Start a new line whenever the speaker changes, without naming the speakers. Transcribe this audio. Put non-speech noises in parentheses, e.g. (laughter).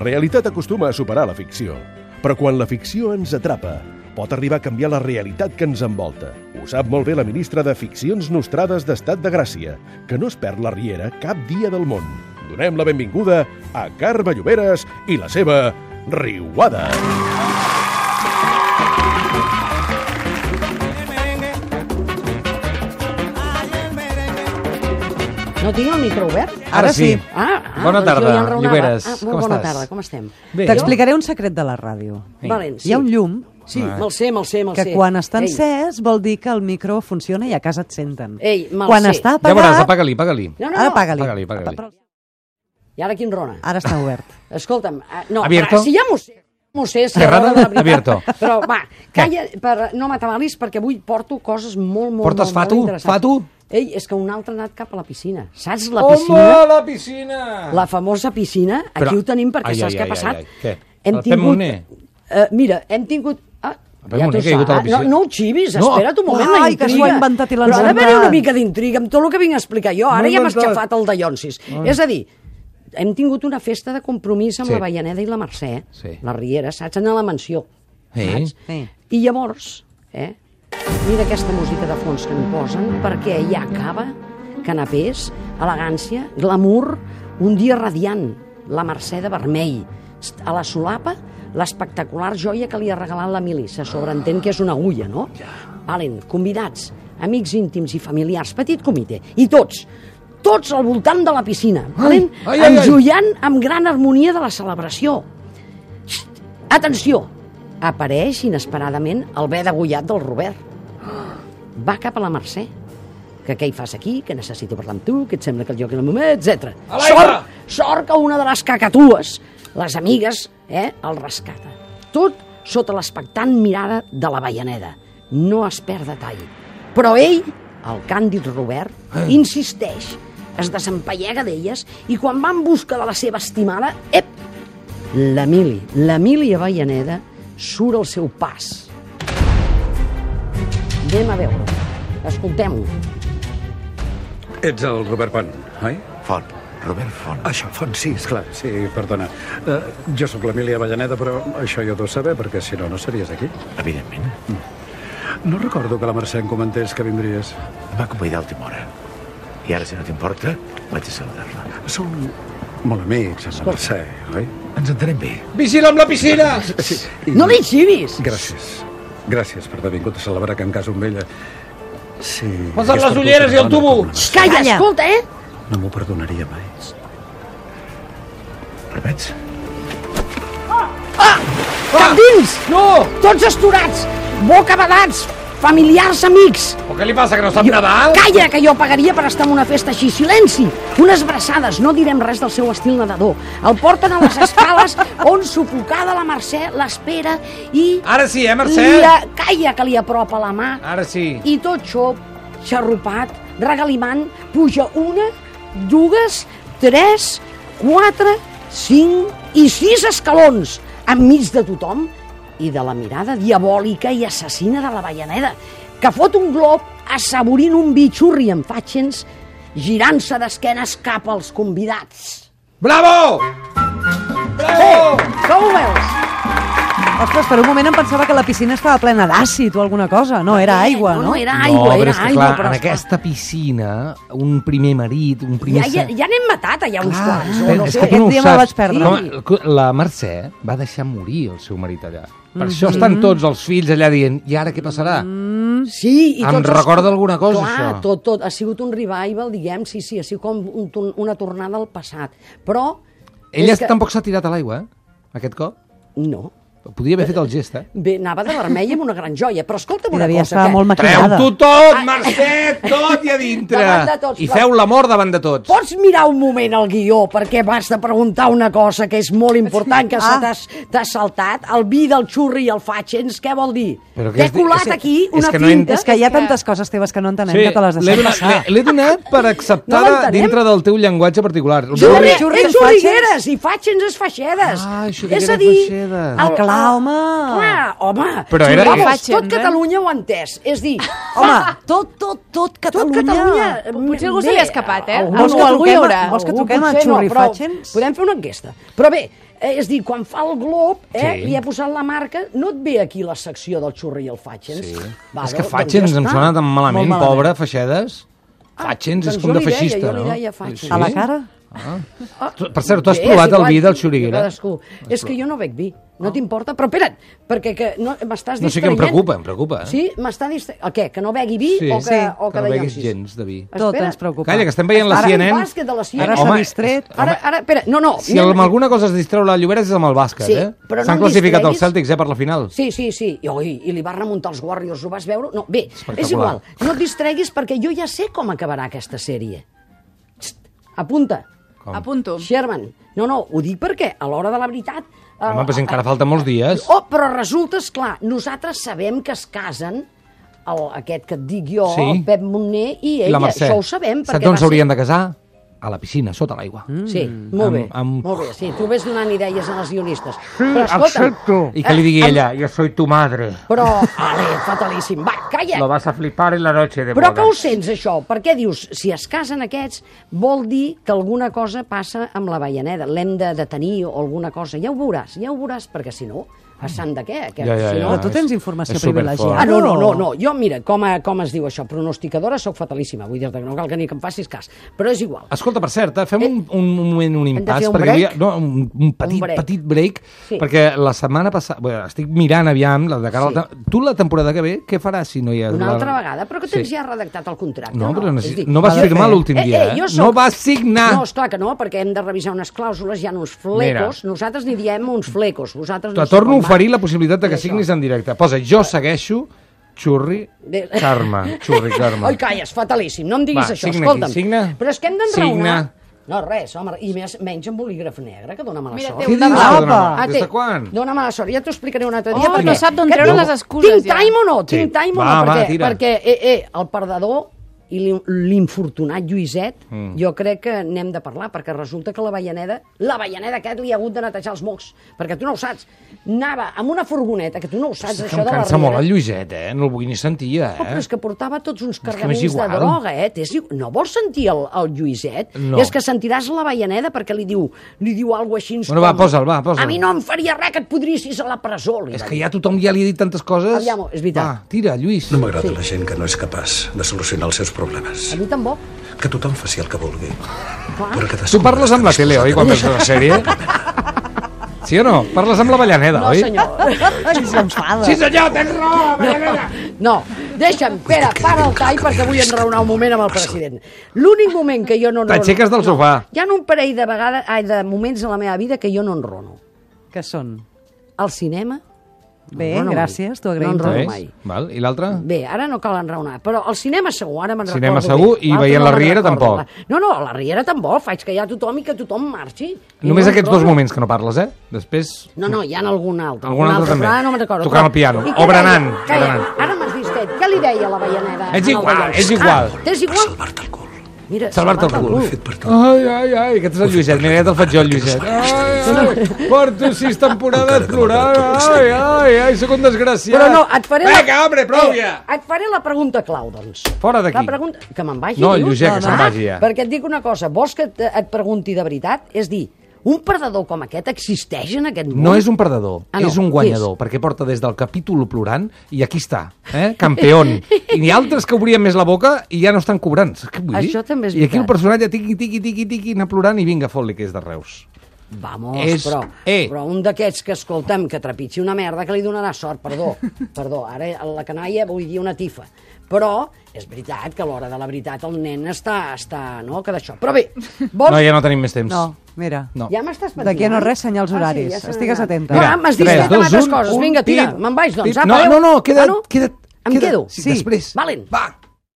realitat acostuma a superar la ficció, però quan la ficció ens atrapa, pot arribar a canviar la realitat que ens envolta. Ho sap molt bé la ministra de Ficcions Nostrades d'Estat de Gràcia, que no es perd la riera cap dia del món. Donem la benvinguda a Carme Lloberes i la seva Riuada.
No tinc el micro obert?
Ara sí.
Ah, ah
Bona
doncs
tarda,
jo ja enraonava.
Lloberes.
Ah, molt
Com
bona
estàs?
tarda, com estem?
Bé.
T'explicaré un secret de la ràdio.
Vinga.
Valent, sí.
Hi ha un llum
Sí,
Ah.
me'l sé, me'l sé, me'l sé.
que quan està
Ei,
encès vol dir que el micro funciona i a casa et senten.
Ei, me'l
quan
sé.
està
Ja veuràs,
apagat,
apaga-li, apaga-li.
No, no,
ara
no.
apaga-li.
Apaga-li, apaga-li.
Però
I ara quin rona?
Ara està obert.
Escolta'm, ah, no,
Abierto?
si ja m'ho sé, m'ho sé, si
Cerrada?
a l'hora de la veritat.
Abierto.
Però va, calla, per, no m'atabalis perquè avui porto coses molt, molt,
Portes
molt, molt
fatu?
interessants.
Fatu?
Ei, és que un altre ha anat cap a la piscina. Saps la piscina?
la piscina!
La famosa piscina, aquí
Però-
ho tenim perquè
Ai,
saps
ai,
què
ai,
ha passat.
ai, ai. Què? El Pep Moner?
Eh, mira, hem tingut... Ah,
Pep
ja t'ho
Moner, que ha caigut a la
saps. No,
piscina.
no ho xivis,
No.
espera't un moment, la
Ai, que s'ho
intriga.
ha inventat i l'ha
Però ha d'haver-hi
encertat.
una mica d'intriga amb tot el que vinc a explicar jo. Ara
M'ho he
ja m'has
inventat.
xafat el de Llonsis. És a dir, hem tingut una festa de compromís amb
Sí.
la Veianeda i la Mercè,
Sí.
la Riera, saps? En la mansió.
Sí.
Saps?
Sí.
I llavors, eh, mira aquesta música de fons que em posen, perquè hi ha cava, canapés, elegància, glamour, un dia radiant, la Mercè de vermell, St- a la solapa, l'espectacular joia que li ha regalat l'Emili. Se sobreentén que és una agulla, no? Valen, convidats, amics íntims i familiars, petit comitè, i tots, tots al voltant de la piscina, valen?
ai, ai, ai.
enjullant amb gran harmonia de la celebració. Atenció! Apareix inesperadament el bé degullat del Robert. Va cap a la Mercè. Que què hi fas aquí? Que necessito parlar amb tu? Que et sembla que el joc era el moment? Etc.
A l'aigua!
Sort, sort que una de les cacatues, les amigues, eh, el rescata. Tot sota l'expectant mirada de la veianeda. No es perd detall. Però ell, el càndid Robert,
Eh.
insisteix, es desempallega d'elles i quan va en busca de la seva estimada, ep, l'Emili, l'Emili Avellaneda, surt al seu pas. Anem a veure. Escoltem-ho.
Ets el Robert Pont, oi?
Font, Robert Font.
Això, Font, sí, esclar, sí, perdona. Uh, jo sóc l'Emília Avellaneda, però això jo t'ho saber, perquè si no, no series aquí.
Evidentment.
No recordo que la Mercè em comentés que vindries.
Em va convidar a última hora. I ara, si no t'importa, vaig a saludar-la.
Sou molt amics, amb la Mercè, oi?
Ens entenem bé.
Vigila amb la piscina!
Sí. I...
No li xivis!
Gràcies. Gràcies per haver vingut a celebrar que em caso amb ella. Sí.
Posa't
és
les
per tu,
ulleres i el
perdona,
tubo.
perdona.
Xx, Calla,
Calla.
escolta, eh?
No m'ho perdonaria mai.
Permets?
Cap dins!
No!
Tots esturats! Boca badats! Familiars, amics!
Però què li passa, que no sap nedar?
Calla, que jo pagaria per estar en una festa així. Silenci! Unes braçades, no direm res del seu estil nedador. El porten a les
(laughs)
escales on, sufocada la Mercè, l'espera i...
Ara sí, eh, Mercè?
Li a... Calla, que li apropa la mà.
Ara sí.
I tot xop, xarrupat, regalimant, puja una, dues, tres, quatre, cinc i sis escalons enmig de tothom i de la mirada diabòlica i assassina de la Vallaneda, que fot un glob assaborint un bitxurri amb fatxens, girant-se d'esquenes cap als convidats.
Bravo! Bravo!
Com ho veus?
Ostres, per un moment em pensava que la piscina estava plena d'àcid o alguna cosa. No, era aigua,
Eh, no?
no?
No, era aigua,
però
era
és que,
aigua.
clar,
però
en
esclar,
aquesta piscina, un primer marit, un primer...
Ja, ja, ja n'hem matat allà uns quants. o no
és
sé.
que tu no
Aquest
ho
dia me la
saps.
vaig perdre.
Home, cu- la Mercè va deixar morir el seu marit allà. Per
Mhm.
això estan tots els fills allà dient, i ara què passarà?
Sí, i
Em
tots
recorda alguna cosa,
Clar,
això.
tot, tot. Ha sigut un revival, diguem, sí, sí, ha sigut com un, tor- una tornada al passat. Però...
Ella
és que...
tampoc s'ha tirat a l'aigua, eh? Aquest cop.
No.
Podria haver fet el gest, eh?
Bé, anava de vermell amb una gran joia, però escolta'm
I
una
devia
cosa.
estar molt maquillada.
Treu-t'ho tot, Mercè, tot i a dintre.
Ah. Davant de tots,
I
però-
feu l'amor davant de tots.
Pots mirar un moment el guió, perquè m'has de preguntar una cosa que és molt important, que
Ah.
ah. t'has t'has saltat. El vi del xurri i el fatxens, què vol dir?
Però que
T'he
és di-
colat
és que-
aquí
és
una
que no he
finta...
entès-
És que hi ha tantes coses teves que no entenem que te les
l'he
deixem
donat-
passar.
l'he- l'he donat per acceptada
l'entenem.
dintre del teu llenguatge particular.
Xurri,
Xurri, xurri,
és
els fatxens.
xurrigueres i fatxens és faixedes.
Ah, xurrigueres,
és a dir,
faixedes.
el-
Ah, clar, home.
Clar, home.
Però era-
Vamos,
Fatxen,
tot
eh?
Catalunya ho ha entès. És dir,
(laughs) Home, tot, tot, tot
tot
Catalunya.
Catalunya...
Potser algú se li ha escapat, eh?
algú-
Vols que
algú hi
truquem a-
haurà.
Vols que
algú
truquem a
potser
Xurri
però
Fatxens?
Podem fer una enquesta. Però bé, Eh, és a dir, quan fa el glob, eh,
Sí.
sí. li ha posat la marca, no et ve aquí la secció del xurri i el Fatxens.
Sí.
Va,
és que
doncs- doncs
Fatxens
ja
em
està.
sona tan malament,
Molt malament.
pobre, Faixedes. Fatxens és
doncs
com
jo
de
li deia,
feixista,
jo li
no?
deia Fatxens.
A la cara?
Ah,
Tu- per cert, tu has
bé,
provat
si
el vi
has-
del xuriguera?
Cadascú. És que jo no bec vi, no t'importa? Però espera't, perquè que no, m'estàs distraient...
No sé què em preocupa, em preocupa. eh?
Sí, m'està distraient... El què, que no begui vi
Sí.
o que,
Sí,
o
que no
deia
beguis
sí.
gens de vi.
Tot
Espera.
ens preocupa.
Calla, que estem veient la
Ara
CNN.
el bàsquet de la CNN.
Ara s'ha distret.
Ara, ara, espera, no, no.
Si amb alguna cosa es distreu la Llobera és amb el bàsquet,
Sí,
eh?
però no
S'han
em
classificat els
distreguis.
Celtics, eh, per la final.
Sí, sí, sí. I, oi, I li va remuntar els Warriors, ho vas veure? No, bé, és
Espectacular.
igual. No et distreguis perquè jo ja sé com acabarà aquesta sèrie. Psst, apunta.
Com?
Apunto.
Sherman. No, no, ho dic perquè a l'hora de la veritat... eh,
Home, però si encara falta molts dies.
Oh, però resulta, és clar, nosaltres sabem que es casen el, aquest que et dic jo,
Sí.
el Pep Montner i
I
ella.
la Mercè.
Això ho sabem perquè
Saps on
va ser... Mm.
s'haurien de casar? A la piscina, sota l'aigua.
Sí, molt bé,
Amb- amb-
molt bé. Sí, tu ves donant idees als guionistes. Sí,
I que li digui ella, jo soy tu madre.
Però, ale, fatalíssim. Va, calla.
Lo vas a flipar en la noche de
Però
boda.
que ho sents, això? Per què dius, si es casen aquests, vol dir que alguna cosa passa amb la veianeda, l'hem de detenir o alguna cosa. Ja ho veuràs, ja ho veuràs, perquè si no, passant de què? Aquest,
Ja, ja,
si
ja.
no,
Però tu
és-
tens informació
és superfort.
privilegiada.
Ah, no, no, no, no. Jo, mira, com, a, com es diu això, pronosticadora, sóc fatalíssima. Vull dir-te que no cal que ni que em facis cas. Però és igual.
Escolta, per cert, eh, fem un, un, un moment, un
de
impàs,
fer un
perquè
break?
havia- no, un, un petit,
Un break.
petit break,
Sí.
perquè la setmana passada, bueno, estic mirant aviam, la de cara
Sí.
a la tem- tu la temporada que ve, què faràs si no hi ha...
Una
la-
altra vegada, però que tens
Sí.
ja redactat el contracte.
No, però
És a dir,
necessit... no vas
va de
firmar
fer.
l'últim dia, eh?
jo
No vas signar!
No, esclar que no, perquè hem de revisar unes clàusules, hi ha uns flecos.
Mira.
Nosaltres n'hi diem uns flecos. Vosaltres
Te
sé
torno a
com va.
oferir la possibilitat de que
I això.
signis en directe. Posa, jo segueixo, xurri,
Bé.
Carme, xurri,
(laughs)
Carme.
Oi, calla, és fatalíssim, no em diguis
Va,
això,
signa
escolta'm.
aquí, signa.
Però és que hem d'enraonar...
Signa.
No, res, home, i més, menys amb bolígraf negre, que dóna mala
Mira,
sort.
té un
dius,
demà.
perdona,
Ah,
des
té.
de quan?
Dóna mala sort, ja t'ho explicaré un altre
Oh,
dia. perquè-
no sap d'on
que
treure
tinc-
les excuses,
Tinc
ja.
time o no? Tinc
Sí.
time o
Va,
no?
va,
perquè,
tira.
perquè eh, eh, el perdedor i l'in- l'infortunat Lluiset,
Mm.
jo crec que n'hem de parlar, perquè resulta que la Vallaneda, la Vallaneda aquest li ha hagut de netejar els mocs, perquè tu no ho saps. Anava amb una furgoneta, que tu no ho saps,
És que
això
em
de la
cansa
Riera.
molt el Lluiset, eh? No el vull ni sentir, eh?
Oh, però és que portava tots uns
m'és
cargaments de
igual.
droga, eh? T'és igual. No vols sentir el, el Lluiset?
No.
És que sentiràs la veianeda perquè li diu, li diu alguna cosa així
Bueno, va, posa'l, va, posa'l.
A mi no em faria res que et podrissis a la presó, li
És
va
que
dir.
ja tothom ja li ha dit tantes coses.
Aviam, és veritat.
Va, tira, Lluís.
No m'agrada la gent que no és capaç de solucionar els seus problemes.
A mi tampoc.
Que tothom faci el que vulgui. Però que
Tu parles amb la tele, oi, quan veus la sèrie? Sí o no? Parles amb la Vallaneda,
No,
oi?
senyor.
(laughs) Ai, s'enfada.
Sí, senyor, tens raó, Vallaneda!
No, deixa'm, Pere, para el tall perquè vull enraonar un moment amb el president. L'únic moment que jo no enrono...
T'aixeques
no,
del sofà.
Hi ha un parell de vegades, ai, de moments a la meva vida que jo no enrono.
Que són?
Al cinema... no
Bé,
enrono mai.
gràcies, t'ho agraïm.
No enrono
Ves?
mai.
Val, i l'altre?
Bé, ara no cal enraonar, però al cinema segur, ara me'n
Cinema
recordo.
segur
bé.
i
L'altre
veient
no
la
me'n
Riera
recordo,
tampoc.
va. No, no, la Riera tampoc, faig que hi ha tothom i que tothom marxi. I
Només
no
aquests dos
enrono.
moments que no parles, eh? Després...
No, no, hi ha algun altre.
Algun altre també.
Ara no me'n recordo.
Tocant
Però-
el piano.
I què
O
deia?
berenant,
Calla,
berenant.
Ara m'has distret. Què li deia la veianera?
És igual, és igual.
Ah, t'és
Per
igual?
salvar-te el cul.
Mira,
Salvar-te el cul.
Ho he fet per tu.
Ai, ai, ai, aquest és el Lluiset. Mira, ja te'l faig jo, el Lluiset. Ai, ai, porto sis temporades plorant. Ai, ai, ai, sóc un desgraciat.
Però no, et faré...
Vinga, home, prou ja!
Eh, et faré la pregunta clau, doncs.
Fora d'aquí.
La pregunta... Que me'n vagi,
No,
dius?
Lluís, ja, que se'n vagi, ja.
Ah, perquè et dic una cosa, vols que et, et pregunti de veritat? És dir, un perdedor com aquest existeix en aquest món?
No és un perdedor,
Ah,
ah,
no,
no. és un
què
guanyador, és? perquè porta des del capítol plorant i aquí està, eh? campeón.
(laughs)
I n'hi ha altres que obrien més la boca i ja no estan cobrant. Saps Què vull dir?
Això també és
I aquí
veritat.
el personatge tiqui, tiqui, tiqui, tiqui, anar plorant i vinga, fot-li que és de Reus.
Vamos,
És-
però,
eh.
però un d'aquests que, escolta'm, que trepitgi una merda que li donarà sort,
(laughs)
perdó, perdó, ara la canalla vull dir una tifa, però és veritat que a l'hora de la veritat el nen està, està no, que d'això. Però bé, vols...
No, ja no tenim més temps.
No, mira.
No.
Ja m'estàs Ah, pentinant?
D'aquí a no res, senyals horaris.
se n'ha
Estigues
anat.
atenta.
No,
Mira,
ah, m'has dit
tres,
que
dos,
altres
un,
coses.
un,
Vinga, tira,
pip,
me'n vaig, doncs.
pip.
Apa,
No,
adéu.
no, no,
Ah,
queda't,
no?
queda't,
Em
queda't.
quedo?
Sí, després.
Valent.
Va.